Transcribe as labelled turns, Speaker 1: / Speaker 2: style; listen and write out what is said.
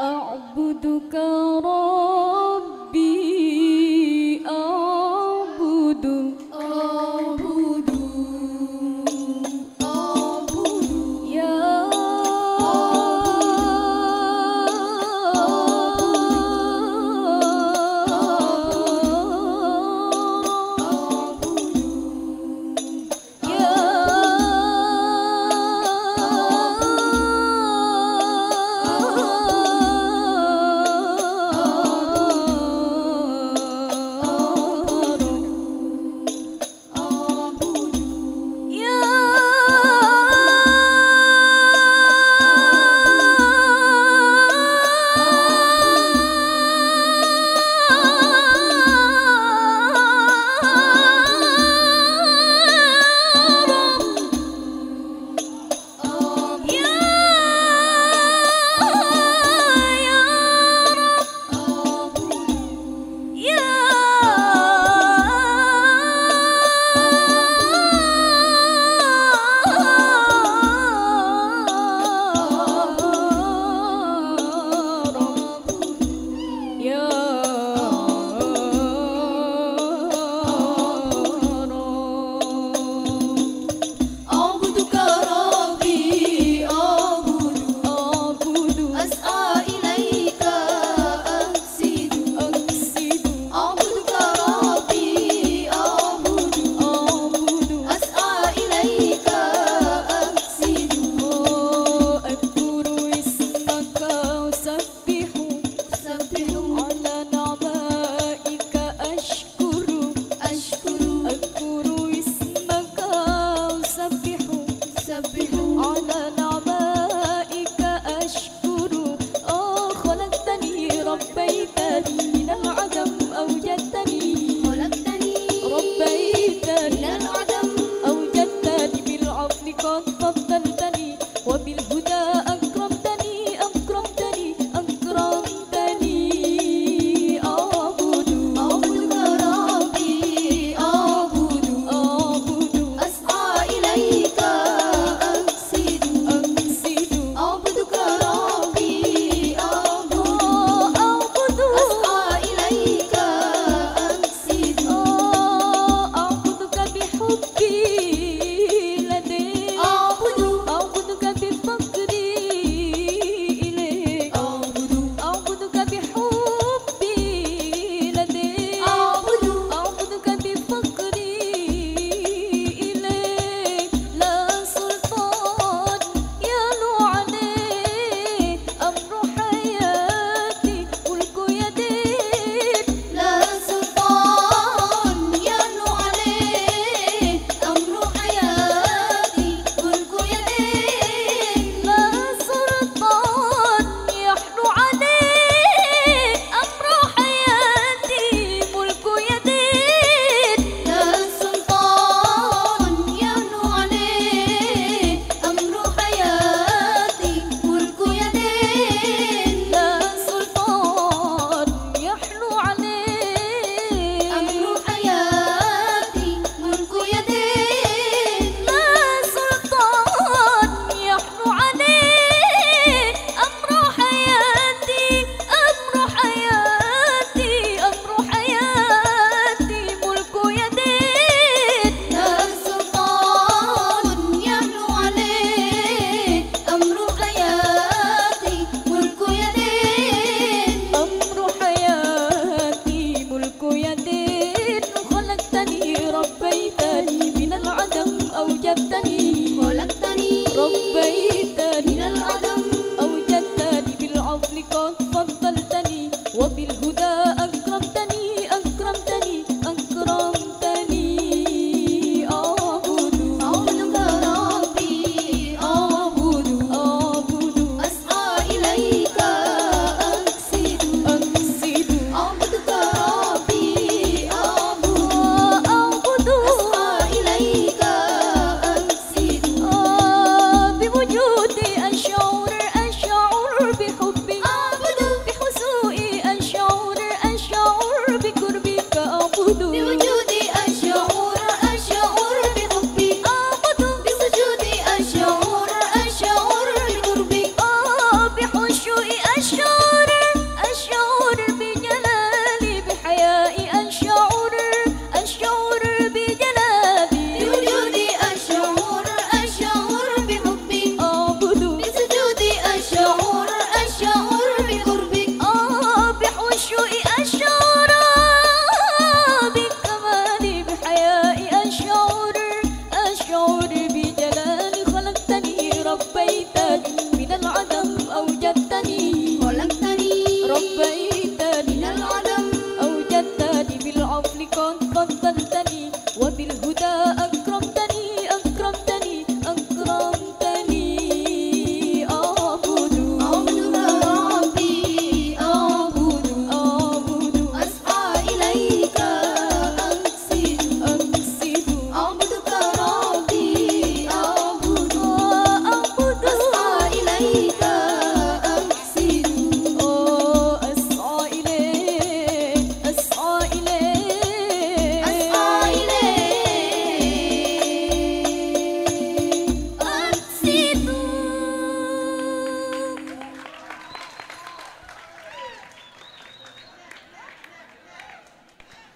Speaker 1: أعبدك رب